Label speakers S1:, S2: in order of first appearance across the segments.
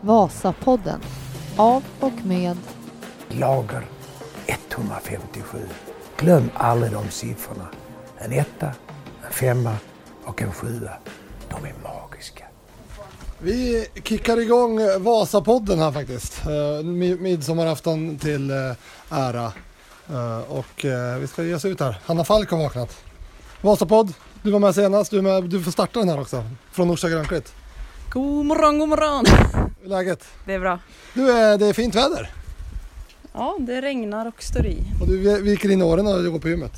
S1: Vasapodden. Av och med
S2: Lager 157. Glöm aldrig de siffrorna. En etta, en femma och en sjua. De är magiska.
S3: Vi kickar igång eh, Vasapodden här faktiskt. Eh, mi- Midsommarafton till eh, ära. Eh, Och eh, vi ska ge oss ut här. Hanna Falk har vaknat. Vasapodd, du var med senast. Du, är med, du får starta den här också. Från Orsa Grönklitt.
S4: God morgon, god morgon!
S3: Hur är läget?
S4: Det är bra.
S3: Du, eh, det är fint väder.
S4: Ja, det regnar och står i.
S3: Och du vi- viker in håren när du går på gymmet.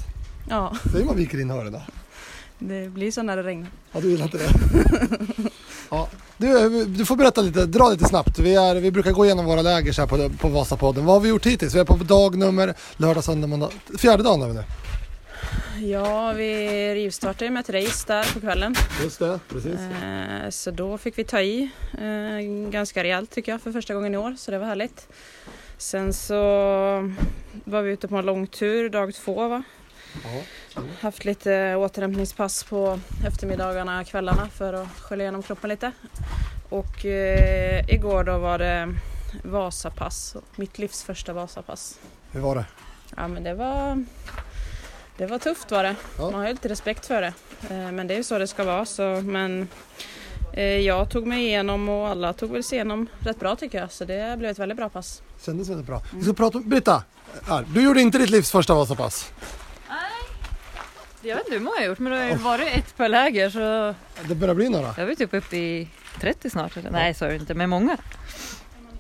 S4: Ja,
S3: Säger man viker in håren?
S4: det blir så när det regnar.
S3: Ja, du gillar inte det? Ja. Du, eh, du får berätta lite, dra lite snabbt. Vi, är, vi brukar gå igenom våra läger så här på, på Vasapodden. Vad har vi gjort hittills? Vi är på dag nummer lördag, söndag, måndag. Fjärde dagen är vi nu.
S4: Ja, vi rivstartade ju med ett race där på kvällen.
S3: Just det, precis.
S4: Eh, så då fick vi ta i eh, ganska rejält tycker jag för första gången i år, så det var härligt. Sen så var vi ute på en lång tur dag två va?
S3: Ja. mm.
S4: Haft lite återhämtningspass på eftermiddagarna, kvällarna för att skölja igenom kroppen lite. Och eh, igår då var det Vasapass, mitt livs första Vasapass.
S3: Hur var det?
S4: Ja men det var, det var tufft var det.
S3: Ja.
S4: Man har ju lite respekt för det. Eh, Men det är ju så det ska vara. Så, men eh, jag tog mig igenom och alla tog väl sig igenom rätt bra tycker jag. Så det blev ett väldigt bra pass.
S3: Kändes väldigt bra. Vi ska prata om... Britta! Här, du gjorde inte ditt livs första Vasapass.
S5: Jag vet inte hur många jag har gjort, men det har ju varit ett per läger så
S3: Det börjar bli några.
S5: jag är väl typ uppe i 30 snart. Eller? Nej, så är det inte, men många.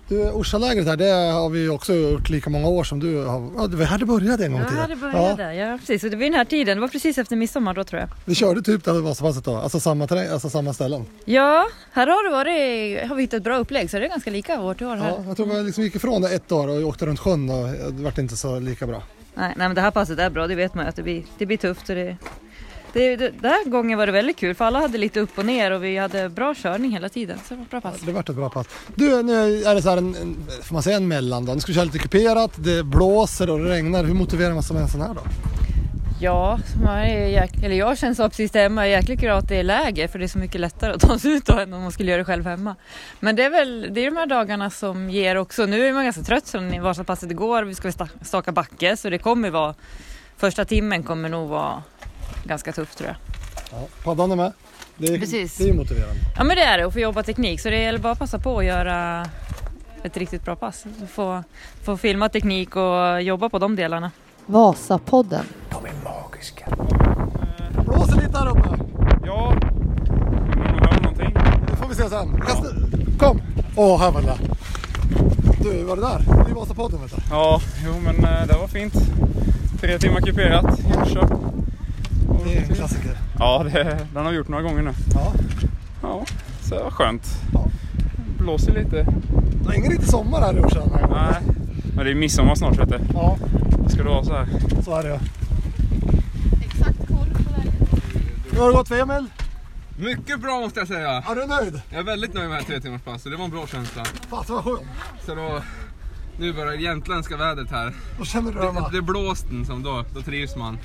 S3: Du, Orsalägret här, det har vi ju också gjort lika många år som du har... Ja, det var här det började en gång i tiden. Ja,
S5: där. Ja, precis. Och det var ju den här tiden, det var precis efter midsommar då tror jag.
S3: vi körde typ det här Vasapasset då, alltså samma terräng, alltså samma ställen.
S5: Ja, här har, det varit, har vi hittat ett bra upplägg så det är ganska lika år till år här.
S3: Ja, jag tror vi liksom gick ifrån det ett år och åkte runt sjön och det vart inte så lika bra.
S5: Nej, nej, men det här passet är bra, det vet man ju att det blir, det blir tufft. Och det, det, det, den här gången var det väldigt kul för alla hade lite upp och ner och vi hade bra körning hela tiden. Så det var ett bra pass.
S3: Det vart ett bra pass. Du, nu är det så här en, en får man säga en mellandag? Nu ska vi köra lite kuperat, det blåser och det regnar. Hur motiverar man sig med en sån här då?
S5: Ja, man är jäk... eller jag känner så precis där hemma. Jag är jäkligt glad att det är läger för det är så mycket lättare att ta sig ut då än om man skulle göra det själv hemma. Men det är väl det är de här dagarna som ger också. Nu är man ganska trött sen i Vasapasset igår. Vi ska väl sta- staka backe så det kommer vara första timmen kommer nog vara ganska tuff tror jag.
S3: Ja, paddan är med. Det är,
S5: Precis.
S3: Det är ju motiverande.
S5: Ja men det är det och få jobba teknik så det gäller bara att passa på att göra ett riktigt bra pass. Få, få filma teknik och jobba på de delarna.
S1: Vasapodden.
S2: De är magiska.
S3: Blåser lite här uppe.
S6: Ja, om man hör någonting.
S3: Det får vi se sen. Kasta, kom! Åh, här var det där. Du, var det där? Det är Vasapodden vet du.
S6: Ja, jo men eh, det var fint. Tre timmar kuperat i Orsa. Och-
S3: Det är en klassiker.
S6: Ja, det, den har vi gjort några gånger nu.
S3: Ja.
S6: Ja, så det var skönt.
S3: Ja.
S6: Blåser lite.
S3: Det är ingen riktig sommar här i Orsa den här gången.
S6: Nej, men det är midsommar snart vet du.
S3: Ja,
S6: Ska det vara så här?
S3: så är det ju. Exakt koll på Hur har det gått för Emil?
S7: Mycket bra måste jag säga.
S3: Är du nöjd?
S7: Jag är väldigt nöjd med det här tre timmars pass, så det var en bra känsla.
S3: Fasen vad skönt.
S7: Så då, nu börjar det jämtländska vädret här.
S3: Då känner du dig hemma.
S7: Det, det blåsten som då, då trivs man.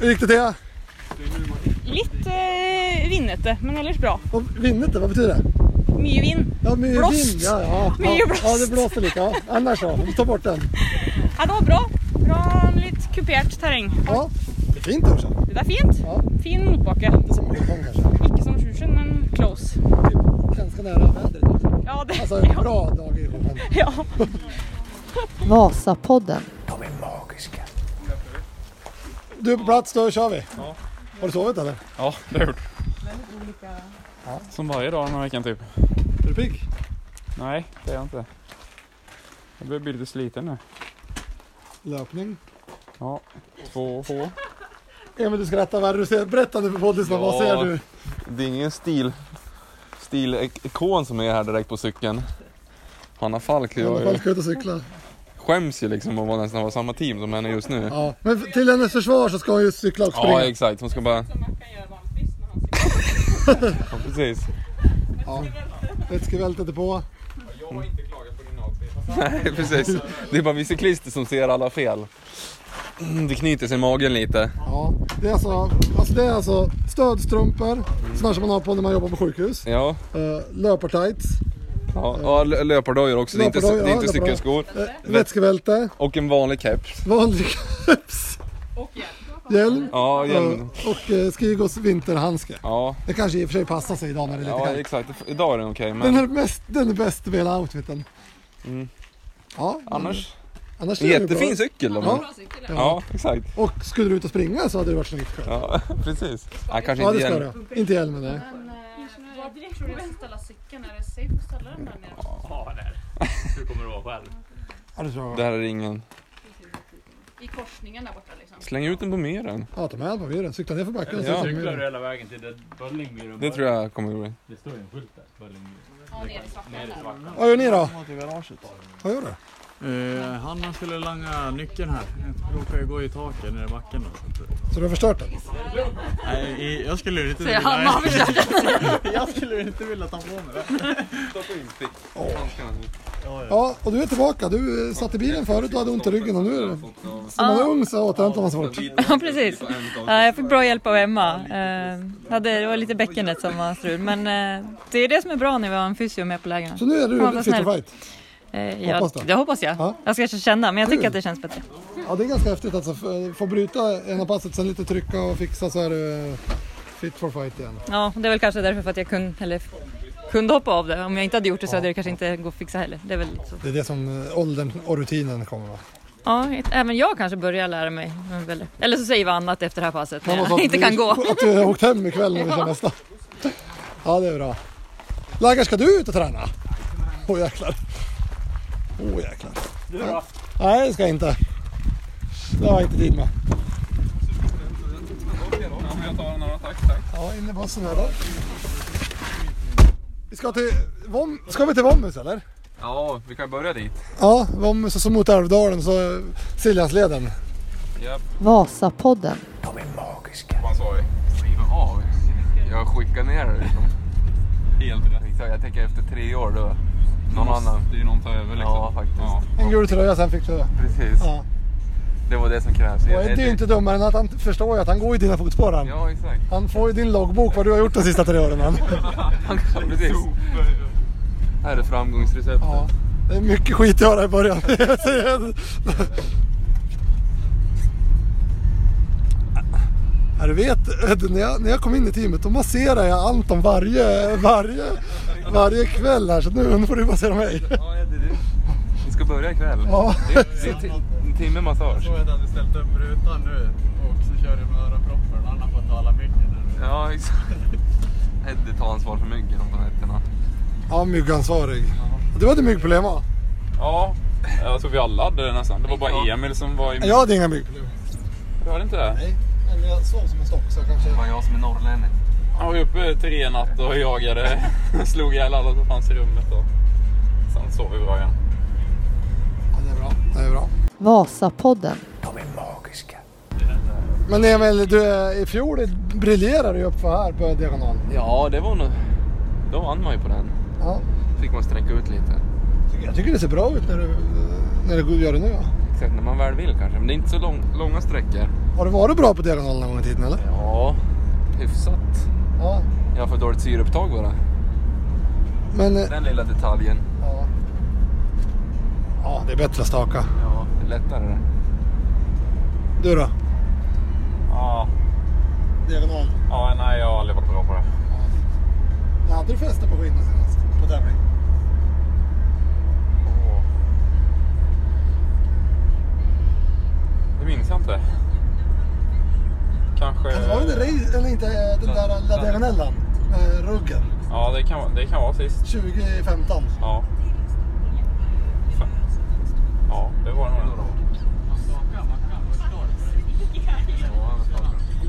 S3: Hur gick det till?
S4: Lite eh, vinnete, men annars bra.
S3: Och vinnet det, vad betyder det?
S4: Mycket vinn.
S3: Ja, my,
S4: Blåst.
S3: Vind, ja, ja.
S4: Mycket
S3: ja,
S4: blåst.
S3: Ja, det blåser lite. Ja. Annars så, vi tar bort den.
S4: Ja, det var bra. Bra, lite kuperat terräng.
S3: Ja, det är fint också.
S4: Det där är fint.
S3: Ja.
S4: Fin motbacke.
S3: Inte som Mekong kanske.
S4: Icke som tjusen, men close.
S3: Typ Ganska nära vädret också.
S4: Ja, det...
S3: Alltså en bra dag i Sjöholm.
S4: ja.
S1: Vasapodden.
S2: De är magiska.
S3: Du är på plats, då kör vi. Har du sovit eller?
S6: Ja, det har jag gjort. Som varje dag den här veckan typ.
S3: Är du pigg?
S6: Nej, det är jag inte. Jag börjar bli lite sliten nu.
S3: Löpning.
S6: Ja, två H.
S3: Emil, du skrattar värre. Du ser, berätta nu för poddlyssnarna, vad
S8: Ja.
S3: ser du?
S8: Det är ingen stil, stilikon som är här direkt på cykeln. Hanna Falk
S3: I alla
S8: jag
S3: fall
S8: ju,
S3: ska ut och cykla.
S8: skäms ju liksom att vara nästan vara samma team som henne just nu.
S3: Ja. Men f- till hennes försvar så ska hon ju cykla och springa.
S8: Ja exakt, hon ska bara... Ja, precis.
S3: Vätskevältet är på.
S8: Nej, precis. Det är bara vi cyklister som ser alla fel. Det knyter sig i magen lite.
S3: Ja. Det, är alltså, alltså det är alltså stödstrumpor, sådana som man har på när man jobbar på sjukhus.
S8: Ja,
S3: Uh, löpartights,
S8: ja, ja lö- löpardojor också. Det är inte,
S3: Löpardojor,
S8: det är inte
S3: ja, löpardojor.
S8: cykelskor.
S3: eh, vätskebälte,
S8: Och en vanlig keps.
S3: vanlig keps. Hjälm.
S8: Ja,
S3: eh,
S8: igen.
S3: Och eh, Skigos vinterhandske.
S8: Ja,
S3: Det kanske i och för sig passar sig idag när det är lite
S8: ja
S3: kallt.
S8: exakt. Idag är den okej,
S3: Den
S8: men
S3: är bäst, den är bäst med hela outfiten.
S8: Mm.
S3: Ja,
S8: annars.
S3: annars är det bra.
S8: Jättefin cykel då. men-
S3: Ja,
S8: Ja, exakt.
S3: och skulle du ut och springa så hade det varit snyggt. själv.
S8: Ja, precis. Ja, kanske
S3: Ja,
S8: inte
S3: det ska
S8: igen.
S3: du. Inte hjälmen, nej.
S4: Var tror du att ställa cykeln? Är det safe att ställa den där nere?
S9: Ja, där. Hur kommer det vara själv?
S3: Ja, det tror
S8: Det
S3: jag.
S8: här är ingen.
S4: I korsningen där borta liksom.
S8: Släng ut den på myren.
S3: Ja, ta med den på myren. Cykla ner för backen. och
S8: Ja.
S3: så
S9: Cyklar du
S3: kommer-
S9: hela vägen till det- Böllingmyren?
S8: Det tror jag kommer att bli.
S9: Det står ju en skylt där. Böllingmyren.
S4: Ja, ner i svarta.
S9: Nere i svart.
S3: Vad gör ni då?
S10: till garaget.
S3: Vad gör du?
S10: Eh, han han skulle langa nyckeln här. Jag råkade ju gå i taket nere i backen. Då, så att,
S3: Så du har förstört den?
S10: nej, i- jag skulle inte
S11: Säger han, han försöker.
S10: jag skulle inte vilja ta på mig det.
S8: Stoppa in stick.
S3: Ja, och du är tillbaka. Du eh, satt i bilen förut och hade ont i ryggen och nu är det... Som man är ung så återhämtar man sig fort.
S11: Ja, precis. Ja, jag fick bra hjälp av Emma. Eh, hade, det var lite bäckenet som var strul. Men eh, det är det som är bra när vi har en fysio med på lägren.
S3: Så nu är
S11: Ja,
S3: du
S11: vad
S3: fit
S11: snäll.
S3: for fight.
S11: Eh, jag,
S3: Hoppas det.
S11: det hoppas jag.
S3: Ja.
S11: Jag ska känna, men jag tycker
S3: Kul.
S11: att det känns bättre.
S3: Ja, det är ganska häftigt alltså. F- Få bryta ena passet, sen lite trycka och fixa så är du eh, fit for fight igen.
S11: Ja, det är väl kanske därför för att jag kunde, eller, kunde hoppa av det. Om jag inte hade gjort det så hade det kanske inte gått att fixa heller. Det är väl lite så.
S3: Det är det som eh, åldern och rutinen kommer va?
S11: Ja, ett- även jag kanske börjar lära mig. men väl- Eller så säger vi annat efter det här passet när
S3: Man måste
S11: jag
S3: ha-
S11: inte kan gå.
S3: Att du har eh, åkt hem ikväll när vi kör nästa. Ja, det är bra. Laggar, ska du ut och träna? Åh jäklar. Åh jäklar.
S9: Du då?
S3: Nej, det ska jag inte. Det har jag inte tid med.
S8: Jag tar en annan, tack, tack.
S3: Ja, in i bussen här då. Vi ska till Vom... Ska vi till Vomhus eller?
S8: Ja, vi kan börja dit.
S3: Ja, Vomhus och så mot Älvdalen så eh, Siljansleden.
S1: Vasapodden.
S2: De är magiska.
S8: Vad sa vi? Riva av. Jag skickar ner det liksom. Helt rätt. Jag tänker efter tre år då. Någon annan.
S6: Det är ju någon tar över liksom.
S8: Ja, faktiskt.
S6: Ja.
S3: En gul tröja sen fick du det.
S8: Precis.
S3: Ja.
S8: Det var det som krävs.
S3: Och Eddie är ju inte dummare än att han förstår ju att han går i dina fotspår han.
S8: Ja, exakt.
S3: Han får ju din loggbok vad du har gjort de sista tre åren. Han.
S8: Ja, precis. Här är framgångsreceptet.
S3: Ja, det är mycket skit att göra i början. Jag säger det. Ja, Du vet Ed, när jag, när jag kom in i teamet då masserar jag Anton varje, varje, varje kväll här så nu får du massera mig.
S8: Ja, Eddie, du. Vi ska börja ikväll.
S3: Ja.
S8: Det är, det är ti- en timme massage.
S10: Jag hade ställt upp rutan nu och så kör jag med öronproppen. Han har fått tala mycket.
S8: Ja, exakt. Eddie tar ansvar för myggen på nätterna.
S3: Ja, myggansvarig. Du hade myggproblem va?
S6: Ja, jag tror vi alla hade det nästan. Det var bara Emil som var i...
S3: Jag hade inga myggproblem.
S6: Du hade inte det?
S3: Nej, eller jag sov som en stock så kanske...
S8: Det var jag som är norrlänning.
S6: Han var ju uppe tre i natt och jagade. Slog ihjäl alla som fanns i rummet och sen sov vi bra igen.
S3: Ja, det är bra. Det är bra.
S1: Vasapodden.
S2: De är magiska.
S3: Men Emil, du, eh, i fjol briljerade du ju upp här på Diagonalen.
S8: Ja, det var nog... Då vann man ju på den.
S3: Ja.
S8: Fick man sträcka ut lite.
S3: Jag tycker det ser bra ut när du, när du gör det nu. Ja.
S8: Exakt, när man väl vill kanske. Men det är inte så lång, långa sträckor.
S3: Har du varit bra på diagonalen någon gång i tiden eller?
S8: Ja, hyfsat.
S3: Ja.
S8: Jag har för dåligt syreupptag bara.
S3: Men eh,
S8: Den lilla detaljen.
S3: ja. ja, det är bättre att staka.
S8: Ja, det är lättare det.
S3: Du då?
S6: Ja,
S3: Diagonal.
S6: ja nej jag har aldrig varit bra på det.
S3: När hade du fäste på skidorna senast? På tävling?
S6: Åh. Det minns jag inte. Kanske...
S3: Det var ju den race, eller inte eh, den där La Diagonellan. eh, Ruggen.
S6: Ja, det kan, det kan vara sist.
S3: 2015.
S6: Ja. Fan. Ja, det var det nog.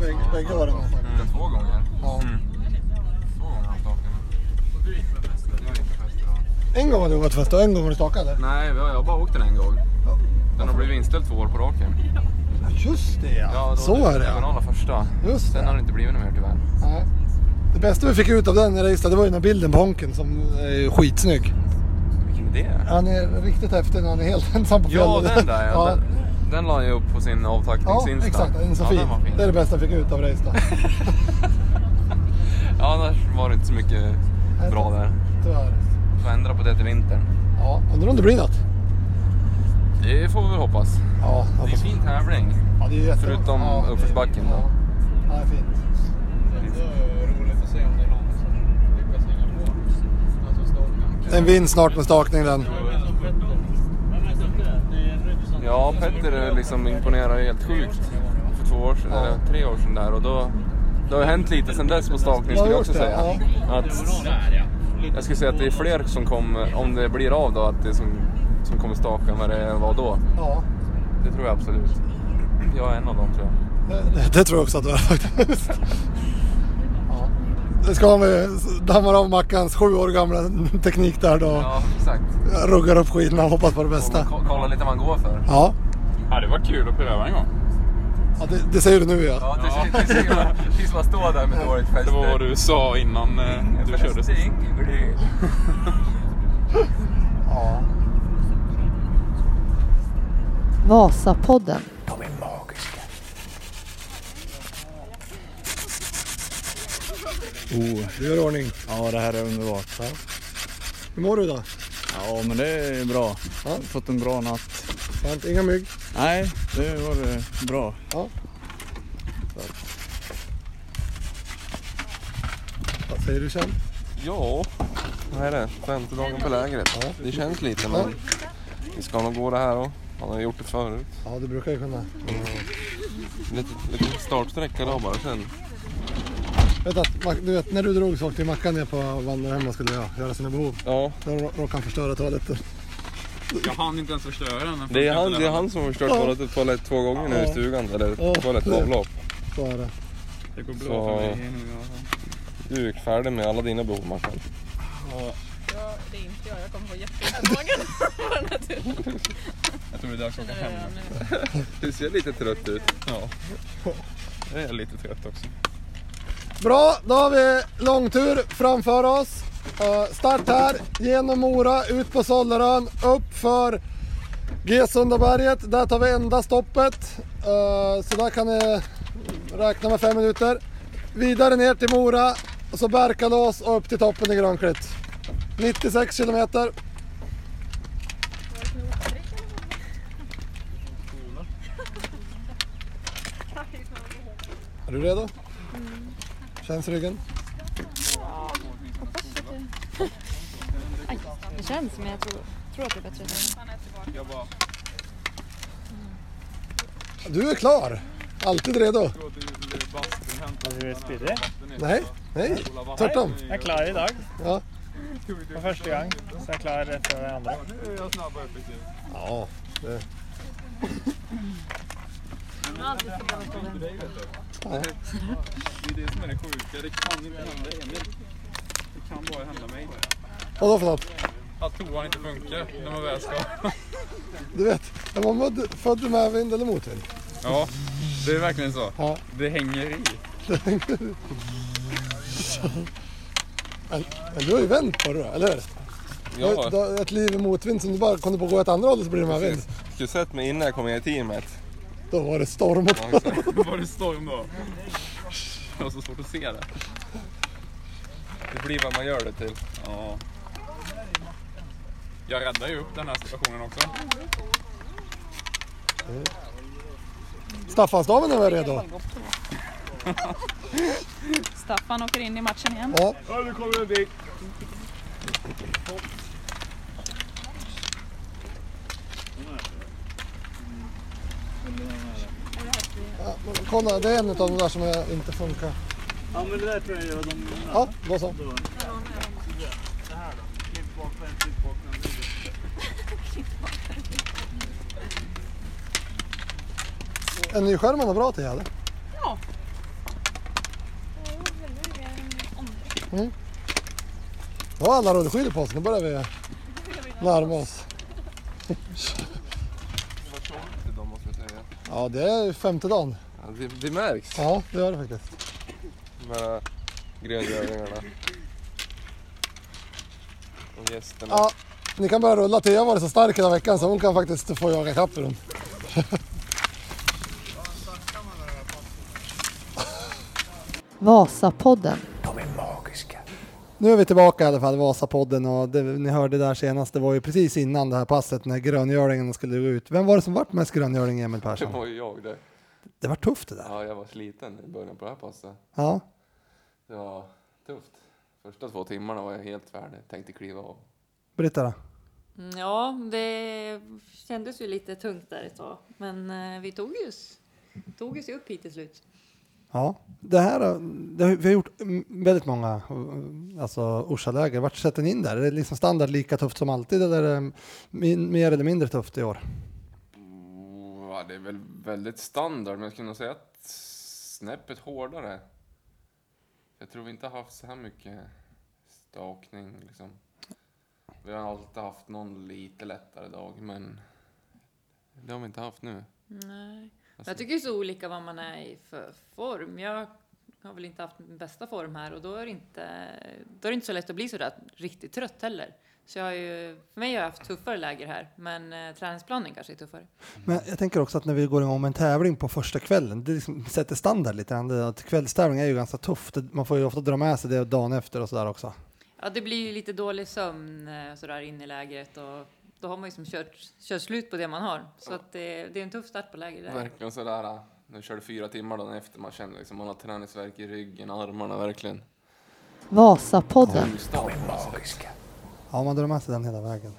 S3: Bägge, bägge åren. alltså.
S8: Mm. Två gånger.
S3: Ja.
S8: Två gånger har de stakat. Jag gick på fester, ja.
S3: En gång har du gått fäste och en gång har du stakat eller?
S8: Nej, jag har bara åkt den en gång.
S3: Ja.
S8: Den har blivit inställd två år på raken.
S3: Ja, just det ja.
S8: då
S3: Så är det ja.
S8: Diagonala första.
S3: Just
S8: Sen har
S3: det.
S8: det inte blivit något mer tyvärr.
S3: Nej. Det bästa vi fick ut av den racet det var ju den här bilden på Honken som är skitsnygg.
S8: Vilken idé.
S3: Han är riktigt häftig när han är helt ensam på
S8: Ja,
S3: fjället.
S8: den där ja. Den, Den la jag upp på sin
S3: Ja,
S8: avtackningsinsta.
S3: exakt. En så fin.
S8: Ja, den var fin.
S3: Det är det bästa jag fick ut av racet. då.
S8: Ja, annars var det inte så mycket bra där.
S3: Tyvärr.
S8: Får ändra på det till vintern.
S3: Ja, undrar om det blir något.
S8: Det får vi väl hoppas.
S3: Ja,
S8: det är en fin tävling.
S3: det är jättebra.
S8: Förutom
S3: Ja.
S8: uppförsbacken. då.
S3: Ja, det är fint.
S12: roligt att se om det är någon som lyckas hänga på. Alltså stången.
S3: Den vinner snart med stakningen.
S8: Ja, Petter liksom imponerar helt sjukt för två år sedan, eller tre år sedan där och då det har hänt lite sedan dess på stakning skulle jag också
S3: Ja, det
S8: säga.
S3: har gjort det,
S8: Att, jag skulle säga att det är fler som kommer, om det blir av då, att det är som, som kommer staka än vad det var då.
S3: Ja,
S8: Det tror jag absolut. Jag är en av dem tror jag.
S3: det, det tror jag också att du är faktiskt. Nu ska vi damma av Mackans sju år gamla teknik där då.
S8: Ja, exakt.
S3: Ruggar upp skidorna och hoppas på det bästa.
S8: Ko- Kolla lite vad han går för.
S3: Ja,
S6: Ja, det var kul att pröva en gång.
S3: ja det, det säger du nu ja.
S8: Ja, tills, tills, tills, tills man står där med dåligt fäste.
S6: Det var vad du sa innan eh,
S13: Mm,
S6: du körde.
S8: Fäste ingår det.
S3: Ja.
S1: Vasapodden.
S2: De är magiska.
S10: Oh.
S3: Du gör ordning.
S10: Ja, det här är underbart.
S3: Hur mår du då?
S10: Ja, men det är bra. Fått en bra natt.
S3: Sant, inga mygg.
S10: Nej, det var eh, bra.
S3: Ja. Vad säger du sen?
S8: Ja, vad är det? Femte dagen på lägret. Det känns lite men vi ska nog gå det här och man har gjort det förut.
S3: Ja, det brukar ju kunna.
S8: Lite, lite startsträcka då bara sen.
S3: Vet att, Mac- du vet, när du drog så åkte ju Mackan ner på vandrarhem och skulle göra- göra sina behov.
S8: Ja.
S3: Då rå- råkade han förstöra toaletten.
S13: Jag hann inte ens förstöra den.
S8: Det är han, det är han som har förstört vårt toalett två gånger nu i stugan.
S3: Ja.
S8: Eller toalettavlopp.
S3: Så är det.
S13: Det går bra
S8: Så
S13: för mig nu. alltså.
S8: du är färdig med alla dina behov Mackan.
S11: Ja, det är inte jag. Jag kommer få jätteobehag på den här turen.
S8: Jag tror det är dags att åka
S11: hem
S8: Du ser lite trött ut. Ja. Jag är lite trött också.
S3: Bra, då har vi långtur framför oss. Eh, start här, genom Mora, ut på Sollerön, upp för G-Sundaberget. Där tar vi enda stoppet. Eh, så där kan ni räkna med fem minuter. Vidare ner till Mora, och så Berkalås och upp till toppen i Grönklitt. 96 kilometer. Är du redo? Känns ryggen?
S14: Aj, det känns, men jag tror, tror att det är bättre.
S13: Jag bara...
S3: Du är klar! Alltid redo.
S15: Har du speedy?
S3: Nej, nej, tvärtom.
S15: Jag er klar i dag.
S3: Ja.
S15: For første gang. Så jeg er klar etter det andre.
S13: Nu är jag snabb och effektiv.
S3: Ja, det...
S13: Nej. Det är det som är det sjuka. Det kan inte hända Emil. Det kan bara hända mig.
S3: Vadå för något?
S13: Att toan inte funkar när man väl ska.
S3: Du vet, är man mod- född med vind eller motvind?
S13: Ja, det är verkligen så.
S3: Ja.
S13: Det hänger i.
S3: Men, men du har ju vänt på det då, eller hur? Du har ju-
S8: Ja.
S3: Du har ett liv i motvind som du bara kunde på att gå åt andra hållet så blir det med vind.
S8: Du sett mig innan jag kom in i teamet.
S3: Då var det storm och
S8: Ja, exakt.
S13: Var det storm då? Det var så svårt att se det.
S8: Det blir vad man gör det till.
S13: Ja. Jag räddar ju upp den här situationen också.
S3: Staffansdamen är väl redo?
S16: Staffan åker in i matchen igen.
S3: Ja.
S13: nu kommer det dit.
S3: Kolla, det är en av de där som är- inte funkar.
S15: Ja, men det där tror jag gör de...
S3: Ja, då så.
S15: Det här då. Klipp bak, klipp bak,
S3: En ny skärm är bra till eller?
S16: Ja.
S3: Mm. Då har alla rullskidor på sig, nu börjar vi närma oss.
S8: Det var tråkigt idag måste jag säga.
S3: Ja, det är femte dagen.
S8: Ja, det, det märks.
S3: Ja, det gör det faktiskt.
S8: De här gröngöringarna. Och gästerna.
S3: Ja, ni kan börja rulla. Thea har varit så stark hela veckan så hon kan faktiskt få jaga ikapp i dem.
S1: Vasapodden.
S2: De är magiska.
S3: Nu är vi tillbaka i alla fall, Vasapodden och det ni hörde där senast, det var ju precis innan det här passet när gröngöringen skulle gå ut. Vem var det som vart mest gröngöring, Emil
S8: Det
S3: Persson?
S8: var ju jag det.
S3: Det var tufft det där.
S8: Ja, jag var sliten i början på det här passet.
S3: Ja.
S8: Det var tufft. Första två timmarna var jag helt färdig. Tänkte kliva av.
S3: Britta då?
S5: Mm, Ja, det kändes ju lite tungt där ett tag. Men eh, vi tog oss, tog oss ju upp hit till slut.
S3: Ja, det här har- det, har- vi har gjort mm, väldigt många eh, alltså Orsaläger. Vart sätter ni in där? Är det liksom standard lika tufft som alltid eller är det min, mer eller mindre tufft i år?
S8: Oh, ja, det är väl väldigt standard, men jag skulle nog säga att snäppet hårdare. Jag tror vi inte har haft så här mycket stakning liksom. Vi har alltid haft någon lite lättare dag, men det har vi inte haft nu.
S5: Nej.
S8: Alltså-
S5: jag tycker det är så olika vad man är i för form. Jag har väl inte haft min bästa form här och då är det inte, då är det inte så lätt att bli så där riktigt trött heller. Så jag har ju, för mig har jag haft tuffare läger här, men eh, träningsplanen kanske är tuffare.
S3: Men jag tänker också att när vi går igång med en tävling på första kvällen, det liksom sätter standard lite grann. Det- Att kvällstävling är ju ganska tufft. Man får ju ofta dra med sig det dagen efter och sådär också.
S5: Ja, det blir ju lite dålig sömn eh, sådär in i lägret och då har man ju som kört, kört slut på det man har. Så att det, det är en tuff start på läger där.
S8: Verkligen sådär, äh, nu körde fyra timmar dagen efter, man känner liksom man har träningsvärk i ryggen, armarna verkligen.
S1: Vasapodden.
S8: Huvudstaden, alltså.
S3: Ja, man drar med sig den hela vägen.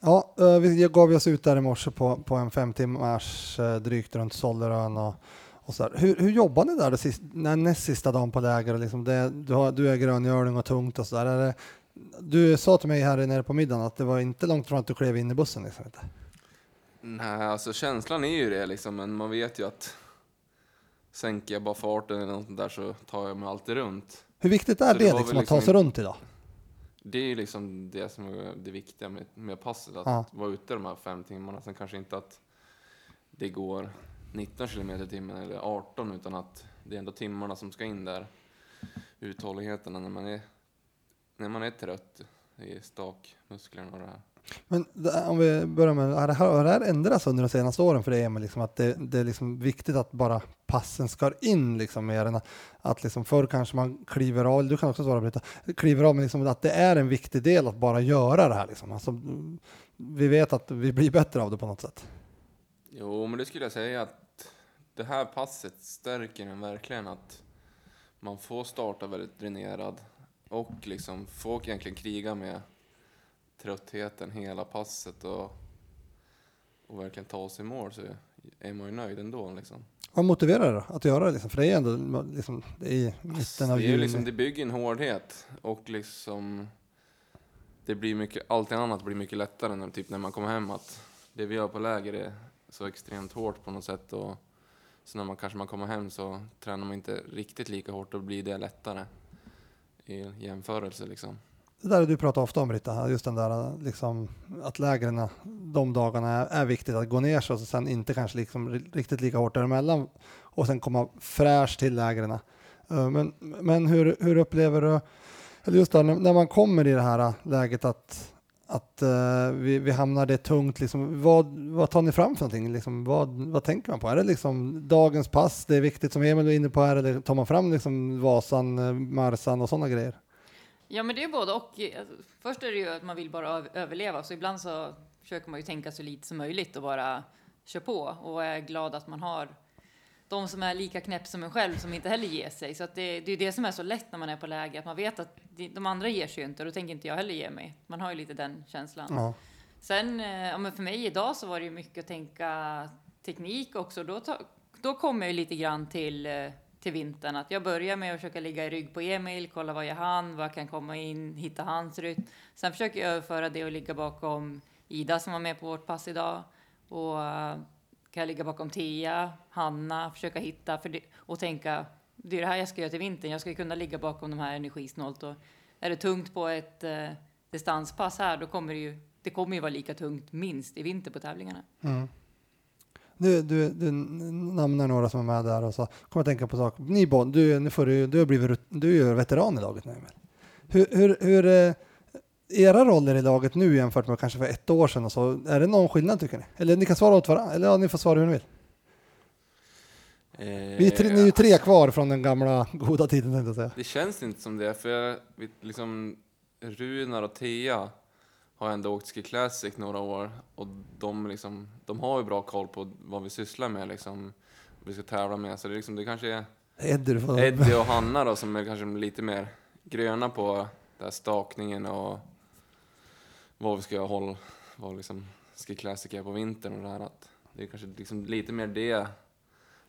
S3: Ja, eh, vi gav oss ut där i morse på, på en fem timmars eh, drygt runt Sollerön och, och så där. Hur, hur jobbar ni där det sist, när, näst sista dagen på läger? och Liksom det, du, har, du är gröngöling och tungt och så där. Är det, du sa till mig här nere på middagen att det var inte långt från att du klev in i bussen. Liksom. inte?
S8: Nej, alltså känslan är ju det liksom, men man vet ju att sänker jag bara farten eller något sånt där så tar jag mig alltid runt.
S3: Hur viktigt är
S8: Så
S3: det,
S8: var
S3: liksom,
S8: väl
S3: att ta sig runt idag?
S8: Det är ju liksom det som är det viktiga med, med passet, att
S3: Ja.
S8: vara ute de här fem timmarna. Sen kanske inte att det går 19 kilometer i timmen eller 18, utan att det är ändå timmarna som ska in där. Uthålligheten när man är, när man är trött i stakmusklerna och det här.
S3: Men det- om vi börjar med, har det här, har det här ändrats under de senaste åren för dig Emil? Liksom att det, det är liksom viktigt att bara passen ska in liksom mer än att- att liksom förr kanske man kliver av, du kan också svara Britta, kliver av men liksom att det är en viktig del att bara göra det här liksom. Alltså, mm, vi vet att vi blir bättre av det på något sätt.
S8: Jo, men det skulle jag säga att det här passet stärker en verkligen att man får starta väldigt dränerad och liksom får egentligen kriga med tröttheten hela passet och, och verkligen ta sig i mål så är man ju nöjd ändå liksom.
S3: Vad motiverar det då att göra det liksom? För det är ändå liksom, det är i mitten av
S8: det, är ju
S3: juni.
S8: liksom, det bygger en hårdhet och liksom det blir mycket, allting annat blir mycket lättare när, typ när man kommer hem att det vi gör på läger är så extremt hårt på något sätt och så när man kanske man kommer hem så tränar man inte riktigt lika hårt och blir det lättare i jämförelse liksom.
S3: Det där du pratar ofta om Britta, just den där liksom, att lägren de dagarna är, är viktigt att gå ner sig och så sen inte kanske liksom, ri- riktigt lika hårt däremellan och sen komma fräsch till lägren. Eh, Men, men hur, hur upplever du, eller just där, när när man kommer i det här läget att, att eh, vi, vi hamnar det tungt, liksom, vad, vad tar ni fram för någonting? Liksom, vad, vad tänker man på? Är det liksom dagens pass, det är viktigt som Emil var inne på här, eller tar man fram liksom Vasan, eh, Marsan och sådana grejer?
S5: Ja, men det är både och. Alltså, Först är det ju att man vill bara öv- överleva, så ibland så försöker man ju tänka så lite som möjligt och bara köra på och är glad att man har de som är lika knäpp som en själv som inte heller ger sig. Så att det, det är ju det som är så lätt när man är på läge, att man vet att de- de andra ger sig ju inte och då tänker inte jag heller ge mig. Man har ju lite den känslan.
S17: Ja.
S5: Sen, eh, ja, men för mig idag så var det ju mycket att tänka teknik också. Då, ta, då kom jag ju lite grann till, eh, till vintern. Att jag börjar med att försöka ligga i rygg på Emil, kolla vad jag hann, vad jag kan komma in, hitta hans rytm. Sen försöker jag överföra det och ligga bakom Ida som var med på vårt pass idag. Och eh, kan jag ligga bakom Thea, Hanna, försöka hitta för det, och tänka det är det här jag ska göra till vintern. Jag ska ju kunna ligga bakom de här energisnålt och är det tungt på ett eh, distanspass här, då kommer det ju, det kommer ju vara lika tungt minst i vinter på tävlingarna.
S3: Mm. Du, du, du n- namnar några som är med där och så kommer jag tänka på saker. Ni Bon, du, nu får du, du, har blivit, rut- du är ju veteran i laget nu Emil. Hur, hur, hur eh, era roller i laget nu jämfört med kanske för ett år sedan och så, är det någon skillnad tycker ni? Eller ni kan svara åt varandra, eller ja, ni får svara hur ni vill.
S8: Eh,
S3: Vi är tre, ni är ju tre kvar från den gamla goda tiden tänkte jag säga.
S6: Det känns inte som det, för jag, vet, liksom, Runar och Thea har ändå åkt Ski Classic några år och de, liksom, de har ju bra koll på vad vi sysslar med, liksom, vad vi ska tävla med. Så det, är liksom, det kanske är
S3: Eddie, du får-
S6: Eddie och Hanna då, som är kanske lite mer gröna på där stakningen och vad vi ska hålla, vad liksom Ski Classic är på vintern och det här. Att det är kanske liksom lite mer det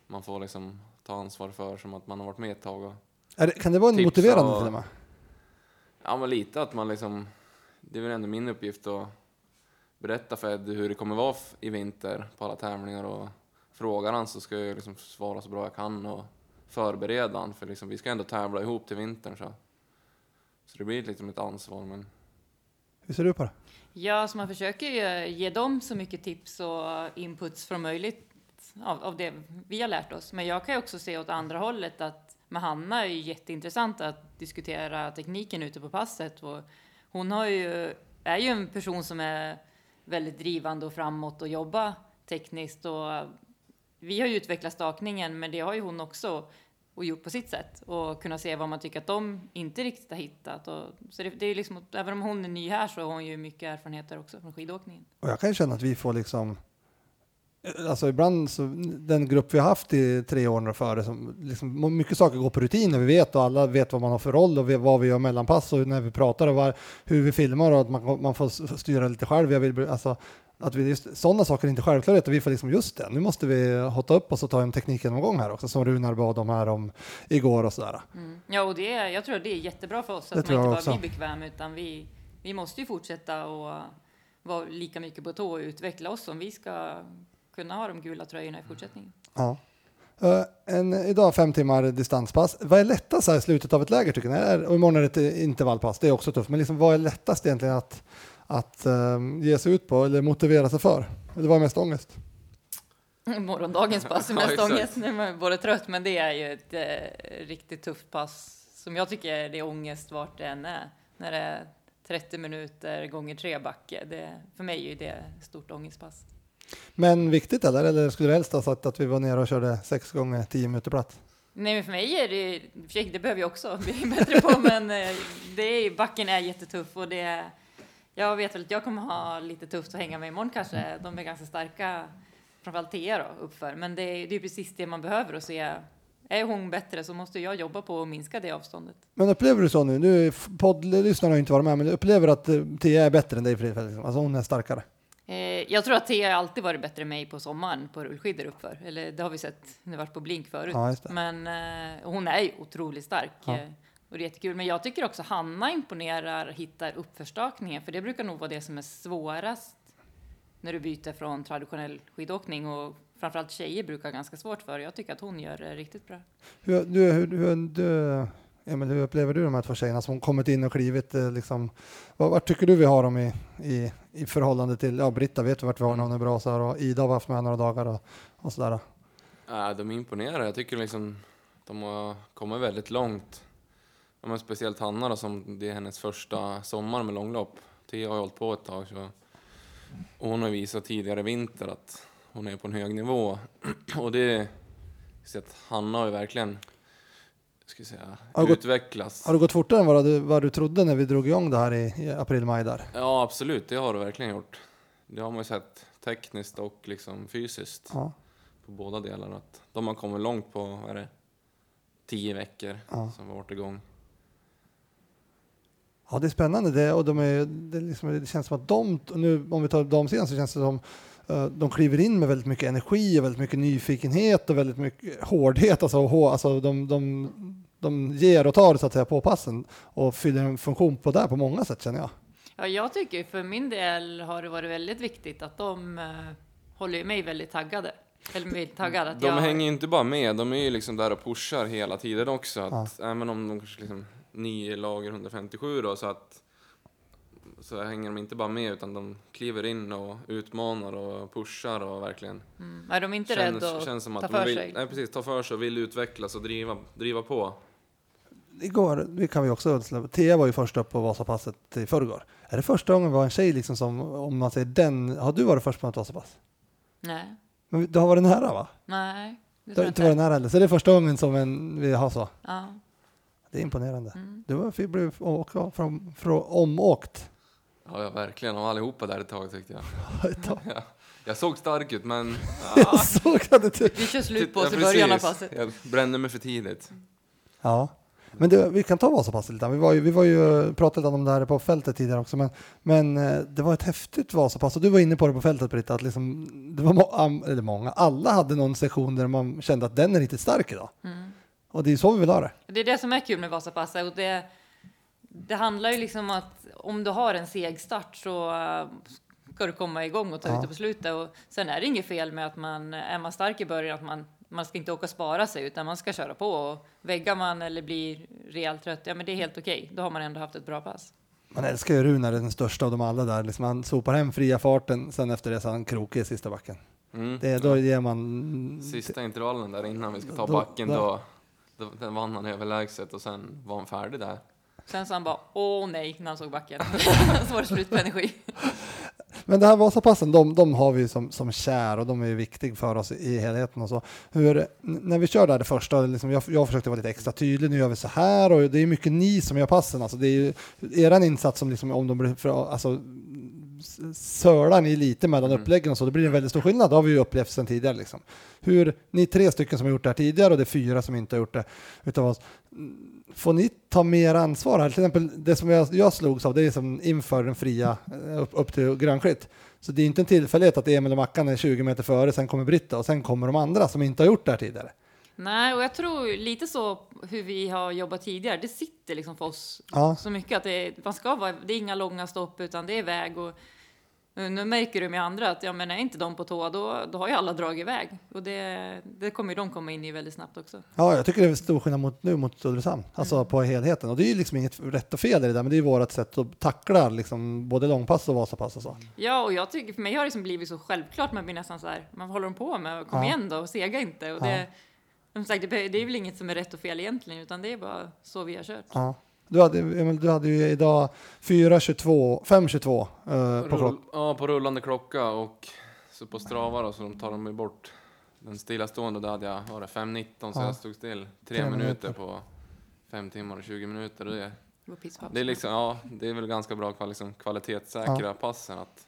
S6: man får liksom ta ansvar för, som att man har varit med ett tag. Och
S3: Är det, kan det vara en
S6: tipsa
S3: motiverande
S6: och-
S3: till och med?
S6: Ja, men lite att man liksom... Det är väl ändå min uppgift att berätta för Eddie hur det kommer vara f- i vinter på alla tävlingar och frågar han så ska jag liksom svara så bra jag kan och förbereda han för liksom, vi ska ändå tävla ihop till vintern så. Så det blir liksom ett ansvar men
S3: Hur ser du på det?
S5: Ja, så man försöker ju ge dem så mycket tips och inputs som möjligt av, av det vi har lärt oss. Men jag kan ju också se åt andra hållet att med Hanna är ju jätteintressant att diskutera tekniken ute på passet. Och hon har ju, är ju en person som är väldigt drivande och framåt och jobbar tekniskt. Och vi har ju utvecklat stakningen, men det har ju hon också och gjort på sitt sätt och kunna se vad man tycker att de inte riktigt har hittat. Och, så det, det är liksom, även om hon är ny här så har hon ju mycket erfarenheter också från skidåkningen.
S3: Och jag kan ju känna att vi får liksom, alltså ibland så, den grupp vi har haft i tre år och före, som liksom, må- mycket saker går på rutin och vi vet och alla vet vad man har för roll och vi- vad vi gör mellanpass och när vi pratar och var, hur vi filmar och att man, man får s- styra lite själv. Jag vill, bli- alltså, att vi, just, sådana saker är inte självklarhet och vi får liksom just det, nu måste vi hotta upp oss och ta en teknikgenomgång här också som Runar bad om här om igår och sådär.
S5: Ja, och det, är- jag tror att det är jättebra för oss
S3: Mm. Det
S5: att
S3: tror
S5: man inte
S3: jag
S5: bara
S3: också.
S5: blir bekväm utan vi, vi måste ju fortsätta och vara lika mycket på tå och utveckla oss om vi ska kunna ha de gula tröjorna i fortsättningen.
S3: Ja. Eh, En, idag fem timmar distanspass. Vad är lättast så här i slutet av ett läger tycker ni? Är- Och imorgon är det ett eh, intervallpass, det är också tufft. Men liksom, vad är lättast egentligen att, att ehm, ge sig ut på eller motivera sig för? Eller vad är mest ångest?
S5: Morgondagens pass är
S3: Ja,
S5: mest
S3: exakt.
S5: ångest. Nu är man både trött, men det är ju ett eh, riktigt tufft pass som jag tycker är- det är ångest vart det än är. När det är 30 minuter gånger tre backe. Det, för mig är ju det ett stort ångestpass.
S3: Men viktigt eller? Eller skulle du helst ha sagt att vi var nere och körde sex gånger tio minuter platt?
S5: Nej, men för mig är det, i och för sig, det behöver jag också bli bättre på, men eh, det är, backen är jättetuff och det är, jag vet väl att jag kommer ha lite tufft att hänga med imorgon kanske. De är ganska starka, framförallt Thea då, uppför. Men det är, det är precis det man behöver och se. Är hon bättre så måste jag jobba på att minska det avståndet.
S3: Men upplever du så nu? nu f- poddlyssnarna har ju inte varit med, men upplever att eh, Tia är bättre än dig för tillfället? Liksom. Alltså hon är starkare.
S5: Eh, jag tror att Thea har alltid varit bättre än mig på sommaren på rullskidor uppför. Eller det har vi sett, hon har varit på blink förut.
S3: Ja, just det.
S5: Men eh, hon är ju otroligt stark.
S3: Ja.
S5: eh, Och det är jättekul. Men jag tycker också Hanna imponerar, hittar uppförstakningen. För det brukar nog vara det som är svårast när du byter från traditionell skidåkning. Och framförallt tjejer brukar ha ganska svårt för det. Jag tycker att hon gör det riktigt bra.
S3: Hur, du, hur, hur, du, Emil, hur upplever du de här två tjejerna som kommit in och klivit? eh, Liksom, vad, vad tycker du vi har dem i, i, i förhållande till, ja Britta vet vi vart vi har när hon är bra så här, och Ida har vi haft med några dagar och, och sådär.
S6: äh, de imponerar. Jag tycker liksom de har kommit väldigt långt. Ja, men speciellt Hanna då, som det är hennes första sommar med långlopp. Thea har ju hållit på ett tag så och hon har visat tidigare i vinter att hon är på en hög nivå och det så att Hanna har ju verkligen ska jag säga,
S3: Har det gått-
S6: utvecklats.
S3: Har det gått fortare än vad du, vad du trodde när vi drog igång det här i, i april-maj där?
S6: Ja, absolut. Det har det verkligen gjort. Det har man ju sett tekniskt och liksom fysiskt
S3: Ja.
S6: på båda delarna. Att de har kommit långt på vad är det, tio veckor
S3: Ja.
S6: som vi har varit igång.
S3: Ja, det är spännande. Det, och de är, det, är liksom, det känns som att de, och nu, om vi tar damsidan så känns det som eh, de kliver in med väldigt mycket energi och väldigt mycket nyfikenhet och väldigt mycket hårdhet. Alltså, och hå, alltså de, de, de ger och tar så att säga på passen och fyller en funktion på där på många sätt känner jag.
S5: Ja, jag tycker för min del har det varit väldigt viktigt att de eh, håller ju mig väldigt taggade. Eller väldigt taggad. Att
S6: De
S5: jag...
S6: hänger ju inte bara med, de är ju liksom där och pushar hela tiden också. Att, Även om de kanske liksom nio lager 157 då, så att så hänger de inte bara med utan de kliver in och utmanar och pushar och verkligen
S5: Mm. Nej, de är inte rädda att ta
S6: de
S5: för
S6: vill,
S5: sig.
S6: Nej, precis, ta för sig och vill utvecklas och driva, driva på.
S3: Igår, det kan vi också släppa- Thea var ju först upp på Vasapasset i förrgår. Är det första gången vi har en tjej liksom som, om man säger den, har du varit först på ett Vasapass?
S5: Nej,
S3: Men du har varit nära va?
S5: nej.
S3: Det har inte varit nära heller. Så det är första gången som en, vi har så.
S5: Ja.
S3: Det är imponerande. Du var- fick- blev åka från, från, omåkt.
S6: Ja, ja verkligen. De var allihopa där ett tag tyckte jag.
S3: ett tag.
S6: Ja. Jag såg stark ut, men...
S3: Jag såg att du...
S5: Vi kör slut på oss i
S6: Typ- precis.
S5: början av passet.
S6: Jag brände mig för tidigt.
S3: Ja. Men du, vi kan ta Vasapass lite. grann. Vi, var ju, vi var ju, pratade lite om det här på fältet tidigare också, men, men eh, det var ett häftigt Vasapass och du var inne på det på fältet Britta, att liksom, det var må- am- eller många, alla hade någon session där man kände att den är riktigt stark idag.
S5: Mm.
S3: Och det är så vi vill ha det.
S5: Det är det som är kul med Vasapasset. Och det, det handlar ju liksom om att om du har en seg start så eh, ska du komma igång och ta
S3: Ja.
S5: ut det på slutet. Och sen är det inget fel med att man är man stark i början, att man, man ska inte åka och spara sig utan man ska köra på. Och väggar man eller blir rejält trött, ja men det är helt okej. Då har man ändå haft ett bra pass.
S3: Man älskar ju Runar, den största av dem alla där. Liksom han sopar hem fria farten, sen efter det så är han krokig i sista backen.
S6: Mm.
S3: Det, då ger man...
S6: Sista intervallen där innan vi ska ta
S3: Då-
S6: backen,
S3: där.
S6: då, då, den vann han överlägset och sen var han färdig där.
S5: Sen så han bara åh nej när han såg backen. så var det slut på energi.
S3: Men det här Vasapassen, de, de har vi ju som, som kär och de är ju viktiga för oss i helheten och så. Hur, n- när vi kör där det första, liksom jag, jag försökte vara lite extra tydlig, nu gör vi så här och det är mycket ni som gör passen. Alltså det är ju eran insats som liksom, om de blir, för, alltså, s- sölar ni lite mellan uppläggen och så, då blir det en väldigt stor skillnad. Det har vi ju upplevt sedan tidigare. Liksom. Hur, ni är tre stycken som har gjort det här tidigare och det är fyra som inte har gjort det utav oss. Mm, Får ni ta mer ansvar här? Till exempel det som jag, jag slogs av, det är som inför den fria, eh, upp, upp till grönskytt. Så det är inte en tillfällighet att Emil och Mackan är 20 meter före, sen kommer Britta och sen kommer de andra som inte har gjort det här tidigare.
S5: Nej, och jag tror lite så hur vi har jobbat tidigare. Det sitter liksom för oss
S3: Ja.
S5: så mycket att det, man ska vara, det är inga långa stopp utan det är väg och nu märker du med andra att ja, men är inte de på tå då, då har ju alla dragit iväg och det, det kommer ju de komma in i väldigt snabbt också.
S3: Ja, jag tycker det är stor skillnad mot, nu mot Ulricehamn, alltså på helheten. Och det är ju liksom inget rätt och fel i det där, men det är ju vårt sätt att tackla liksom, både långpass och Vasapass och så.
S5: Ja, och jag tycker för mig har det liksom blivit så självklart. Man blir nästan så här, man håller de på med? Kom
S3: Ja.
S5: igen då och sega inte. Och
S3: Ja.
S5: det, som sagt, det, be- det är väl inget som är rätt och fel egentligen, utan det är bara så vi har kört.
S3: Ja. Du, hade, Emil, du hade ju idag 4.22, 5.22 eh, på klockan.
S6: Rull, ja, på rullande klocka och så på stravar då, så de tar de ju bort den stillastående. Där hade jag, var det 5.19 så
S3: Ja.
S6: jag stod still. Tre
S3: Tre
S6: minuter
S3: minuter.
S6: på fem timmar och 20 minuter. Och det,
S5: Det var piss på
S6: det är liksom, ja, det är väl ganska bra kval, liksom, kvalitetssäkra passen att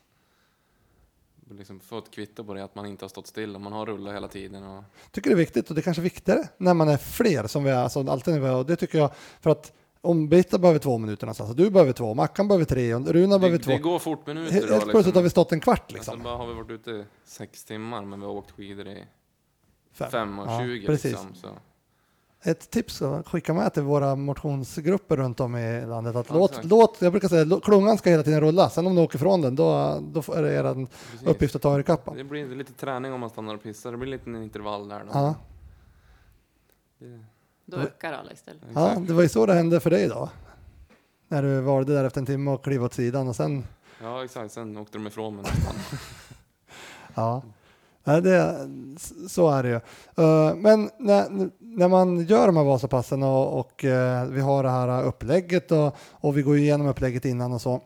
S6: liksom få ett kvitto på det att man inte har stått still och man har rullat hela tiden. Och,
S3: tycker det är viktigt och det är kanske är viktigare när man är fler som vi är. Alltså, alltid när vi är och det tycker jag för att om Britta behöver två minuter någonstans, och du behöver två, Mackan behöver tre, och Runa
S6: det,
S3: behöver två.
S6: det går fort minuter.
S3: Helt
S6: då,
S3: plötsligt har vi stått en kvart liksom.
S6: Alltså, bara har vi varit ute i sex timmar men vi har åkt skidor i
S3: Fem.
S6: 5 och
S3: Ja,
S6: 20
S3: precis.
S6: liksom. Så.
S3: Ett tips att skicka med till våra motionsgrupper runt om i landet. Att
S6: Ja,
S3: låt,
S6: exakt.
S3: låt, jag brukar säga lå- klungan ska hela tiden rulla, sen om du åker från den då, då är det er
S6: Precis.
S3: uppgift att ta er i kappan.
S6: Det blir lite träning om man stannar och pissar. Det blir lite en intervall där. Då.
S3: Ja.
S6: Det-
S5: Då ökar alla istället.
S3: Ja, det var ju så det hände för dig idag. När du valde där efter en timme och klev åt sidan och sen
S6: Ja, exakt. Sen åkte de ifrån mig nästan.
S3: Ja, Nej, det, s- så är det ju. Eh, Men när, när man gör de här Vasapassen och, och eh, vi har det här upplägget och, och vi går igenom upplägget innan och så.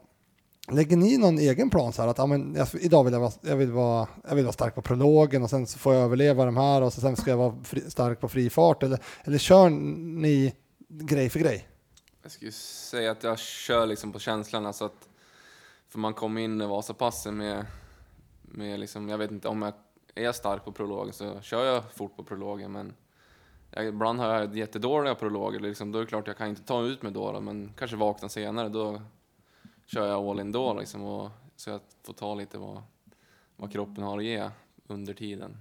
S3: Lägger ni någon egen plan så här att ja, men, jag, idag vill jag, vara, jag, vill vara, jag vill vara stark på prologen och sen så får jag överleva de här och så, sen ska jag vara fri, stark på fri fart eller, eller kör ni grej för grej?
S6: Jag skulle säga att jag kör liksom på känslan. Alltså att, för man kom in i Vasapassen med, med liksom, jag vet inte om jag är stark på prologen så kör jag fort på prologen. Men jag, ibland har jag jättedåliga prologer. Liksom, då är det klart jag kan inte ta ut mig då, då men kanske vakna senare. Då kör jag all in då liksom, och, så jag får ta lite vad, vad kroppen har att ge under tiden.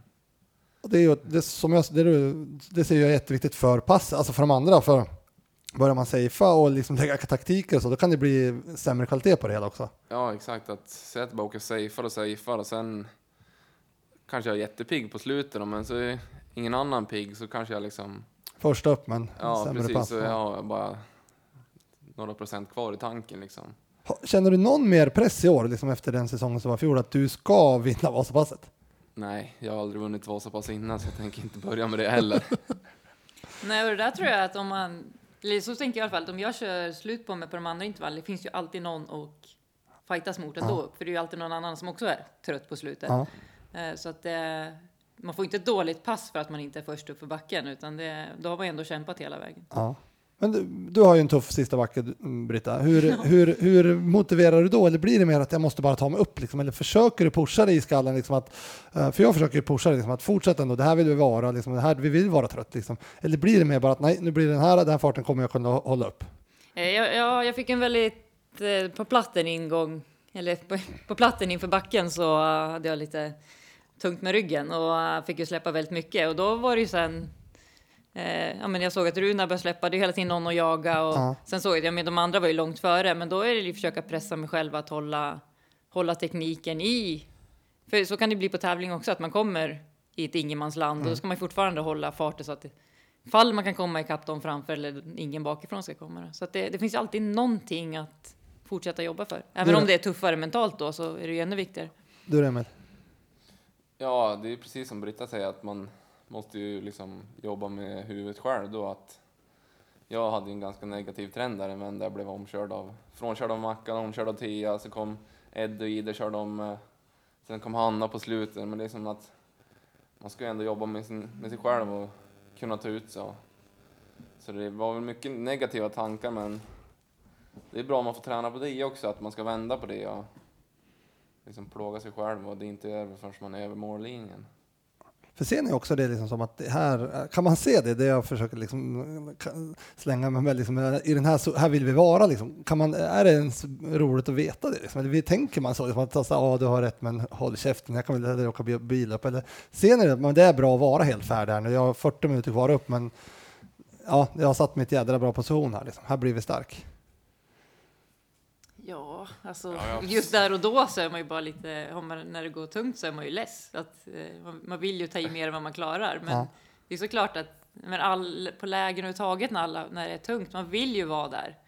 S3: Och det, är ju, det, som jag, det, du- det ser jag jätteviktigt för pass, alltså för de andra. För börjar man safea och liksom lägga taktiker och så, då kan det bli sämre kvalitet på det hela också.
S6: Ja, exakt. Att säga att bara åka safear och safear och sen kanske jag är jättepigg på slutet då, men så är ingen annan pigg så kanske jag liksom...
S3: Första upp men
S6: Ja,
S3: sämre
S6: precis.
S3: pass.
S6: Så jag har bara några procent kvar i tanken liksom.
S3: Ha- Känner du någon mer press i år, liksom efter den säsongen som var i fjol, att du ska vinna Vasapasset?
S6: Nej, jag har aldrig vunnit Vasapass innan så jag tänker inte börja med det heller.
S5: Nej, och det där tror jag att om man... Eller så tänker jag i alla fall, att om jag kör slut på mig på de andra intervallen, det finns ju alltid någon och fightas mot ändå. För det är ju alltid någon annan som också är trött på slutet.
S3: Ja.
S5: Eh, Så att eh, man får inte ett dåligt pass för att man inte är först upp för backen, utan det, då har man ändå kämpat hela vägen.
S3: Ja. Men du, du har ju en tuff sista backe, mm, Britta. Hur, hur, hur motiverar du då? Eller blir det mer att jag måste bara ta mig upp? Liksom? Eller försöker du pusha dig i skallen? Liksom att, eh, för jag försöker ju pusha dig liksom att fortsätta ändå. Det här vill vi vara. Liksom, det här, vi vill vara trött. Liksom. Eller blir det mer bara att nej, nu blir det den här, den här farten kommer jag kunna hålla upp?
S5: Eh, Jag, jag, jag fick en väldigt, eh, på platten ingång, eller på, på platten inför backen så eh, hade jag lite tungt med ryggen och eh, fick ju släppa väldigt mycket och då var det ju sen Eh, ja, men jag såg att Runar började släppa, det är ju hela tiden någon att jaga och
S17: Ja.
S5: sen såg jag att ja, men de andra var ju långt före, men då är det ju att försöka pressa mig själv att hålla, hålla tekniken i. För så kan det bli på tävling också, att man kommer i ett ingenmansland och då
S18: Mm.
S5: ska man ju fortfarande hålla farten så att det, fall man kan komma ikapp dem framför eller ingen bakifrån ska komma. då. Så att det, det finns ju alltid någonting att fortsätta jobba för. Även
S3: Det-
S5: om det är tuffare mentalt då så är det ju ännu viktigare.
S3: Du då Emil?
S6: Ja, det är precis som Britta säger att man måste ju liksom jobba med huvudet själv då att jag hade ju en ganska negativ trend där men där jag blev omkörd av, frånkörd av Mackan, omkörd av Tia, så kom Ed och Ida körde om, eh, sen kom Hanna på slutet men det är som att man ska ju ändå jobba med, sin, med sig själv och kunna ta ut sig. Så det var väl mycket negativa tankar men det är bra om man får träna på det också, att man ska vända på det och liksom plåga sig själv och det är inte över förrän man är över mållinjen.
S3: För ser ni också det liksom som att det här, kan man se det? Det jag försöker liksom kan- slänga mig med, liksom, i den här, så- här vill vi vara liksom. Kan man, är det ens roligt att veta det? Liksom? Eller vi- tänker man så? Liksom, att alltså, ah, du har rätt men håll käften, jag kan väl hellre åka bi- bil upp. Eller ser ni det? Men det är bra att vara helt färdig här nu. Jag har 40 minuter kvar upp men ja, jag har satt mig i ett jädra bra position här. Liksom. Här blir vi stark.
S5: Ja, alltså
S6: Ja, ja.
S5: just där och då så är man ju bara lite, har man, när det går tungt så är man ju less. Att, eh, man, man vill ju ta i mer än vad man klarar. Men
S3: Ja.
S5: det är såklart att men all, på lägen överhuvudtaget när, alla, när det är tungt, man vill ju vara där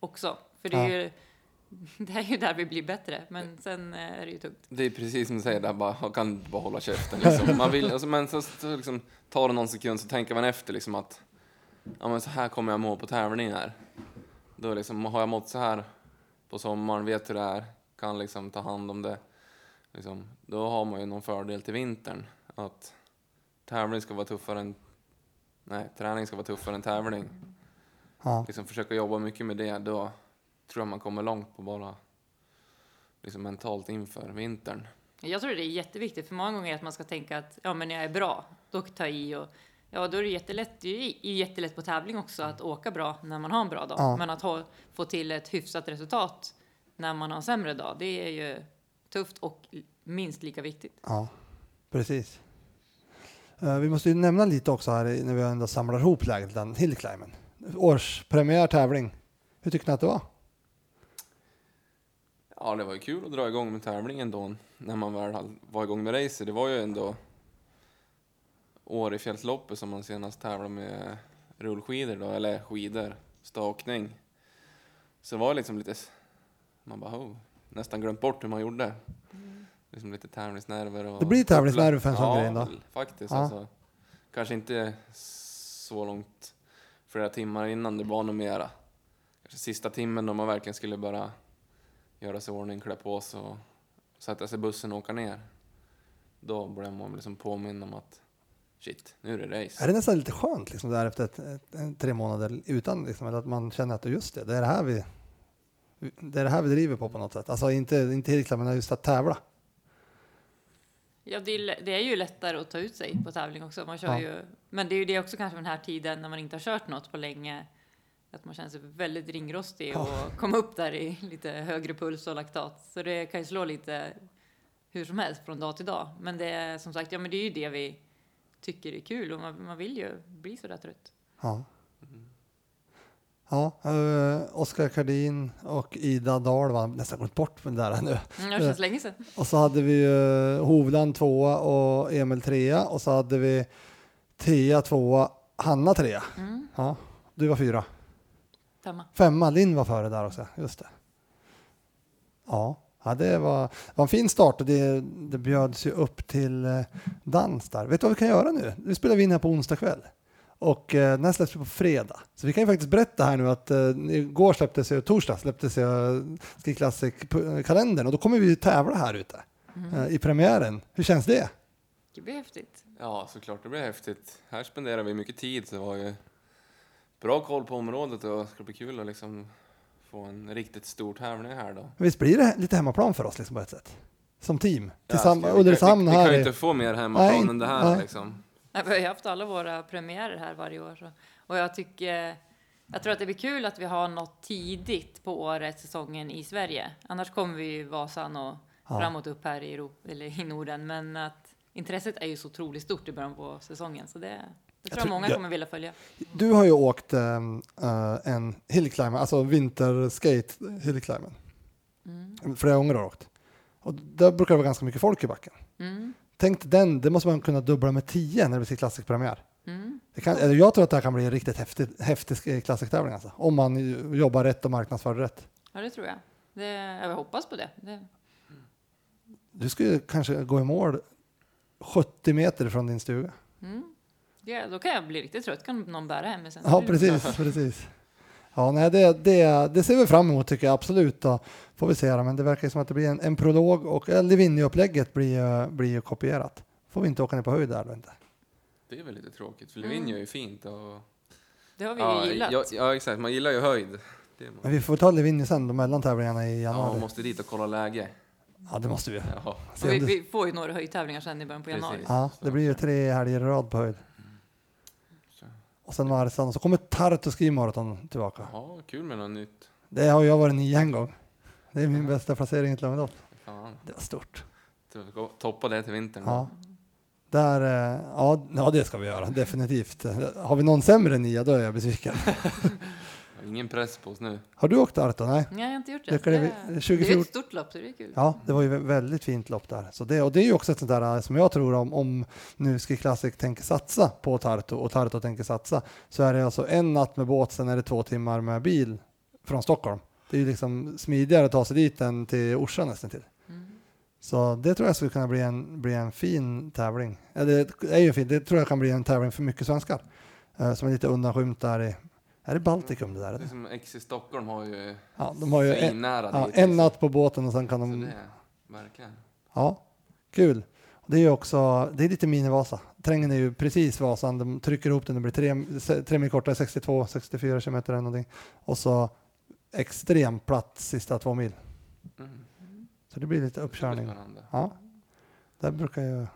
S5: också. För det är,
S6: Ja.
S5: ju, det är ju där vi blir bättre, men sen eh, är det ju tungt.
S6: Det är precis som du säger, där bara, jag kan bara hålla käften. Liksom. Man vill, alltså, men så, så liksom, tar det någon sekund så tänker man efter liksom, att ja, men så här kommer jag må på tävlingar. Då liksom, har jag mått så här på sommaren, vet hur det är, kan liksom, ta hand om det. Liksom, då har man ju någon fördel till vintern. Att tävling ska vara tuffare än, nej, träning ska vara tuffare än tävling.
S3: Ja.
S6: Liksom, försöka jobba mycket med det, då tror jag man kommer långt på bara liksom, mentalt inför vintern.
S5: Jag tror det är jätteviktigt, för många gånger är att man ska tänka att ja, men jag är bra, då tar jag i och ja, då är det jättelätt. Det är ju jättelätt på tävling också att åka bra när man har en bra dag,
S19: Ja.
S5: men att ha, få till ett hyfsat resultat när man har en sämre dag, det är ju tufft och minst lika viktigt.
S3: Ja, precis. Eh, Vi måste ju nämna lite också här i- när vi ändå samlar ihop läget, den Hillclimben. Årspremiär tävling. Hur tyckte ni att det var?
S6: Ja, det var ju kul att dra igång med tävlingen då när man väl hade- var igång med racer. Det var ju ändå Årefjällsloppet som man senast tävlade med rullskidor då, eller skidor, stakning. Så det var liksom lite, s- man bara oh, nästan glömt bort hur man gjorde. Liksom lite tävlingsnerver. Och
S3: Det blir tävlingsnerver för en sån
S6: ja,
S3: grej då.
S6: faktiskt.
S3: Ja.
S6: Alltså, kanske inte så långt flera timmar innan det var något mera. Kanske sista timmen då man verkligen skulle bara göra sig i ordning, klä på sig och sätta sig i bussen och åka ner. Då blev man liksom påminn om att shit, nu är det race.
S3: Är det nästan lite skönt liksom där efter ett, ett, en- tre månader utan liksom, eller att man känner att just det, det är det här vi, det är det här vi driver på på något sätt. Alltså inte, inte Hillclimben, men just att tävla.
S5: Ja, det är, lä- det är ju lättare att ta ut sig på tävling också. Man kör
S3: Ja.
S5: ju, men det är ju det också kanske den här tiden när man inte har kört något på länge. Att man känner sig väldigt ringrostig
S3: Ja.
S5: och komma upp där i lite högre puls och laktat. Så det kan ju slå lite hur som helst från dag till dag. Men det är som sagt, ja men det är ju det vi tycker är kul och man, man vill ju bli sådär trött.
S3: Ja. Ja, eh, Oskar Kardin och Ida Dahl var nästan gått bort med det där nu.
S5: Mm, det känns länge sedan.
S3: Och så hade vi ju eh, Hovland tvåa och Emil trea och så hade vi Tia tvåa, Hanna trea.
S5: Mm.
S3: Ja, du var fyra.
S5: Femma.
S3: Femma, Linn var före där också, just det. Ja, ja det var, var en fin start och det, det bjöds ju upp till eh, dans där. Vet du vad vi kan göra nu? Nu spelar vi in här på onsdag kväll och eh, den här släpps ju på fredag. Så vi kan ju faktiskt berätta här nu att eh, igår släpptes ju, torsdag släpptes ju Ski eh, Classic-kalendern och då kommer vi ju tävla här ute eh, i premiären. eh, Hur känns det?
S5: Det blir häftigt.
S6: Ja, såklart det blir häftigt. Här spenderar vi mycket tid så det var ju bra koll på området och det ska bli kul att liksom få en riktigt stor tävling här då.
S3: Visst blir det lite hemmaplan för oss liksom på ett sätt? Som team?
S6: Ja,
S3: Tillsammans,
S6: ska- vi-
S3: Ulricehamn
S6: vi, vi, vi
S3: här.
S6: kan ju
S3: är-
S6: inte få mer hemmaplan
S3: Nej,
S6: än det här
S3: nej.
S6: liksom.
S5: Nej, Vi har ju haft alla våra premiärer här varje år. Så. Och jag tycker... Jag tror att det blir kul att vi har något tidigt på året, säsongen i Sverige. Annars kommer vi ju Vasan och
S3: Ja.
S5: framåt upp här i, Europa, eller i Norden. Men att intresset är ju så otroligt stort i början på säsongen. Så det, det tror jag,
S3: tror-
S5: många
S3: jag-
S5: kommer vilja följa.
S3: Du har ju åkt ehm, eh, en hillclimber, alltså vinterskate hillclimber.
S5: Mm.
S3: Flera gånger har du åkt. Och där brukar det vara ganska mycket folk i backen.
S5: Mm.
S3: Tänk dig den, det måste man kunna dubbla med 10 när det blir klassikpremiär.
S5: Mm.
S3: Det kan, eller jag tror att det här kan bli en riktigt häftig, häftig klassiktävling alltså. Om man ju jobbar rätt och marknadsför rätt.
S5: Ja, det tror jag. Det, jag hoppas på det. det
S3: Du skulle kanske gå i mål 70 meter från din stuga.
S5: mm. det, då kan jag bli riktigt trött. Kan någon bära hem mig sen?
S3: Ja, precis. precis. Ja, nej, det, det, det ser vi fram emot tycker jag absolut. Då. Får vi se, då. men det verkar ju som att det blir en, en prolog och eh, Livigno-upplägget blir, ju- blir ju kopierat. Får vi inte åka ner på höjd där då inte?
S6: Det är väl lite tråkigt för
S5: Mm.
S6: Livigno är ju fint och...
S5: Det har vi ju
S6: ja,
S5: gillat.
S6: Ja, ja, exakt. Man gillar ju höjd. Det är man.
S3: Men vi får ta Livigno sen, de mellan tävlingarna i
S6: Ja, man
S3: januari.
S6: måste dit och kolla läge.
S3: Ja, det måste vi.
S6: Ja.
S3: Se
S5: Och
S3: om
S5: vi,
S3: det-
S5: vi får ju några höjdtävlingar sen i början på januari.
S3: Ja, det blir ju tre helger i rad på höjd.
S6: Mm.
S3: Och sen Marsan, och så kommer Tartu Ski Marathon tillbaka.
S6: Ja, kul med något nytt.
S3: Det har jag varit nia en gång. Det är min bästa placering i ett långlopp.
S6: Fan.
S3: Det var stort.
S6: Toppa det till vintern.
S3: Ja. Där, eh, ja, ja, det ska vi göra, definitivt. Har vi någon sämre än nia, då är jag besviken.
S6: Ingen press på oss nu.
S3: Har du åkt Arto? Nej.
S5: Nej, jag har inte gjort det.
S3: Det, kan det,
S5: Det-
S3: vi-
S5: det är
S3: 2014.
S5: ett stort lopp, så det är kul.
S3: Ja, det var ju ett väldigt fint lopp där. Så det, och det är ju också ett sånt där eh, som jag tror om, om nu Ski Classic tänker satsa på Tartu och Tartu tänker satsa så är det alltså en natt med båt, sen är det två timmar med bil från Stockholm. Det är ju liksom smidigare att ta sig dit än till Orsa nästan till. Så det tror jag skulle kunna bli en, bli en fin tävling. Ja, det, är ju fint. det tror jag kan bli en tävling för mycket svenskar eh, som är lite undanskymd där i, är det Baltikum det där?
S6: Det är som X i Stockholm har ju
S3: Ja, de har ju en,
S6: svinnära
S3: ja,
S6: dit,
S3: en
S6: liksom.
S3: natt på båten och sen kan de...
S6: Det, verkligen.
S3: Ja, kul. Och Det är ju också, det är lite minivasa. Trängen är ju precis Vasan, de trycker ihop den, det blir tre, se- tre mil kortare, 62-64 kilometer eller någonting. Och så extremt platt sista två mil.
S6: Mm.
S3: Så det blir lite uppkörning.
S6: spännande.
S3: Ja. Där brukar ju,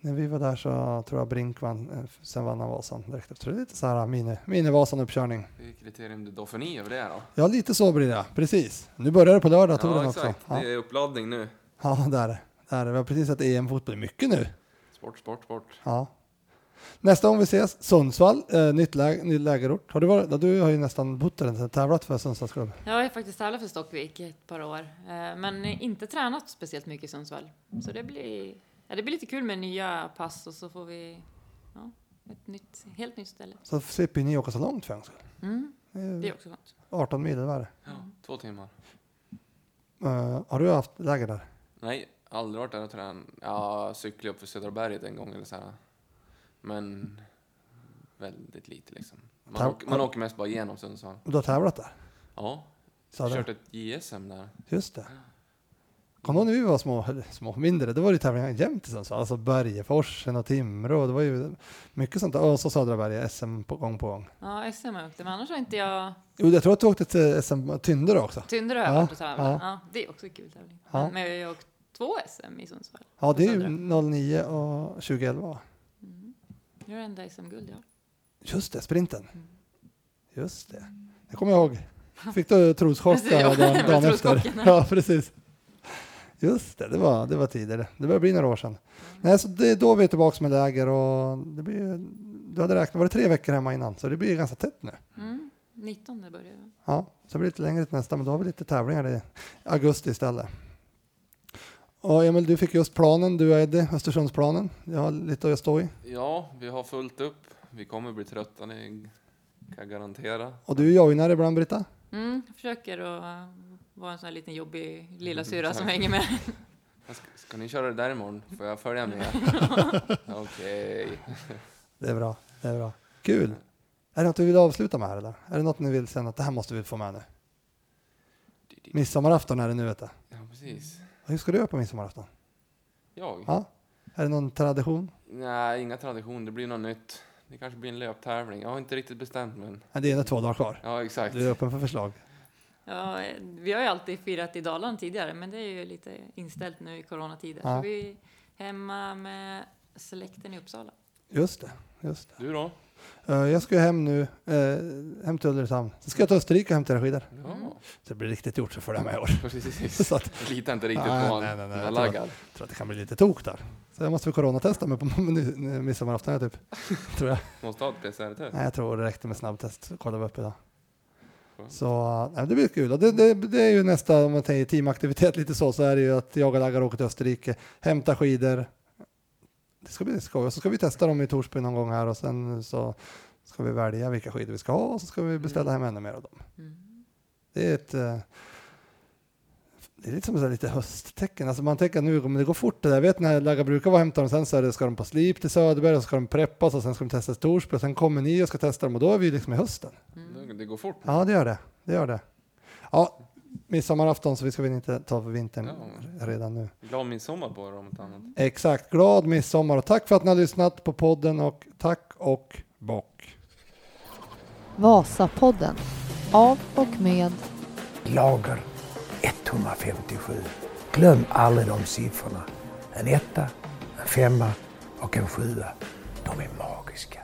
S3: när vi var där så tror jag Brink vann, eh, sen vann han Vasan direkt efter. Så det är lite så här mini, minivasan-uppkörning.
S6: Det är kriterium du Dauphiné över det då.
S3: Ja, lite så blir det, precis. Nu börjar det på lördag, tror jag också.
S6: exakt.
S3: Ja,
S6: Det är uppladdning nu.
S3: ja där, är det. där. är det. Vi har precis sett EM-fotboll, mycket nu.
S6: Sport, sport, sport.
S3: Ja. Nästa gång vi ses, Sundsvall, eh, nytt, lä- ny lägerort. Har du, varit, ja, du har ju nästan bott där, nästan tävlat för Sundsvalls klubb.
S5: Jag har ju faktiskt tävlat för Stockvik i ett par år, eh, men inte tränat speciellt mycket i Sundsvall. Så det blir, ja, det blir lite kul med nya pass och så får vi ja, ett nytt, helt nytt ställe.
S3: Så slipper ju ni åka så långt för en skull.
S5: Mm.
S3: Eh,
S5: Det är också skönt.
S3: 18 mil, var det?
S6: Två timmar.
S3: Eh, har du haft läger där?
S6: Nej, aldrig varit där och tränat. Ja, cyklade upp för Södra berget en gång eller så här. Men väldigt lite liksom. Man,
S3: Tar-
S6: åker, man åker mest bara igenom Sundsvall.
S3: Du har tävlat där?
S6: Ja,
S3: Så
S6: jag
S3: det-
S6: kört ett JSM där.
S3: Just det. Kommer du ihåg när vi var små, eller små, mindre? Det var ju tävlingar jämt i Sundsvall. Alltså Bergeforsen och Timrå. Det var ju mycket sånt där. Och så Södra Berge, SM på gång på gång.
S5: Ja, SM har jag åkt men annars har inte jag...
S3: Jo, jag tror att du åkte till SM Tyndare också.
S5: Tyndre har jag
S3: Ja,
S5: varit och tävlat.
S3: ja.
S5: Ja, det är också en kul tävling.
S3: Ja.
S5: Men jag har ju åkt två SM i Sundsvall.
S3: Ja, det är ju 09 och 2011 va?
S5: Jag är det enda SM-guld jag har.
S3: Just det, sprinten. Just det. Det kommer jag ihåg. Fick du troschock
S5: Precis,
S3: där
S5: ja.
S3: dagen, dagen efter?
S5: Troschocken, ja.
S3: Ja, precis. Just det, det var, det var tidigare. Det börjar bli några år sedan. Nej, så det är då vi är tillbaka med läger och det blir, ju- du hade räknat, var det tre veckor hemma innan? Så det blir ju ganska tätt nu.
S5: Mm. 19 började jag.
S3: Ja, så blir det lite längre till nästa, men då har vi lite tävlingar i augusti istället. Och Emil, du fick just planen, du och Eddie, Östersundsplanen. Jag har lite att stå i.
S6: Ja, vi har fullt upp. Vi kommer bli trötta, det kan jag garantera.
S3: Och du joinar ibland, Britta?
S5: Mm, jag försöker att eh, vara en sån här liten jobbig lilla syra som hänger med.
S6: Men Ska, ska ni köra det där imorgon? Får jag följa med? Okej.
S3: Det är bra. Det är bra. Kul. Är det något du vill avsluta med här eller? Är det något ni vill känna att det här måste vi få med nu? Midsommarafton är det nu vet du.
S6: Ja, precis.
S3: Hur ska du göra på midsommarafton?
S6: Jag?
S3: Ja. Är det någon tradition?
S6: Nej, inga traditioner. Det blir något nytt. Det kanske blir en löptävling. Jag har inte riktigt bestämt mig än.
S3: Ja, Det är nog två dagar kvar.
S6: Ja, exakt.
S3: Du är öppen för förslag.
S5: Ja, eh, vi har ju alltid firat i Dalarna tidigare, men det är ju lite inställt nu i coronatider.
S3: Ja.
S5: Så vi är hemma med släkten i Uppsala.
S3: Just det. Just det.
S6: Du då?
S3: Eh, Jag ska ju hem nu, eh, hem till Ulricehamn. Sen ska jag till Österrike och hämta skidor.
S6: Ja.
S3: Så det blir riktigt gjort för det här med i år.
S6: Precis. Lita inte riktigt på han. Den är
S3: Jag tror,
S6: laggad.
S3: jag tror att det kan bli lite tok där. Så jag måste väl coronatesta mig på ny- ny- midsommarafton här, typ. tror jag.
S6: Måste ha ett PCR-test.
S3: Nej, jag tror det räckte med snabbtest. Kollade vi upp idag. Så nej, det blir kul. Och Det, det, det är ju nästa, om man tänker teamaktivitet lite så, så är det ju att jag och Laggar åker till Österrike, hämtar skidor. Det ska bli skoj. Och Så ska vi testa dem i Torsby någon gång här och sen så ska vi välja vilka skidor vi ska ha och så ska vi beställa hem ännu mer av dem. Det är ett eh, det är lite som så här lite hösttecken. Alltså man tänker att nu men det går fort det där. Jag vet när Lagga brukar vara och hämta dem, sen så är det, ska de på slip till Söderberg och så ska de preppas och sen ska de testas i Torsby och sen kommer ni och ska testa dem och då är vi liksom i hösten.
S6: Det- Det går fort.
S3: Ja, det gör det. Det gör det. Ja, midsommarafton så vi ska väl inte ta för vintern
S6: Ja.
S3: redan nu.
S6: Glad midsommar på er om inte annat.
S3: Exakt. Glad midsommar och tack för att ni har lyssnat på podden och tack och bock.
S1: Vasapodden. Av och med
S2: Lager 157. Glöm aldrig de siffrorna. En etta, en femma och en sjua. De är magiska.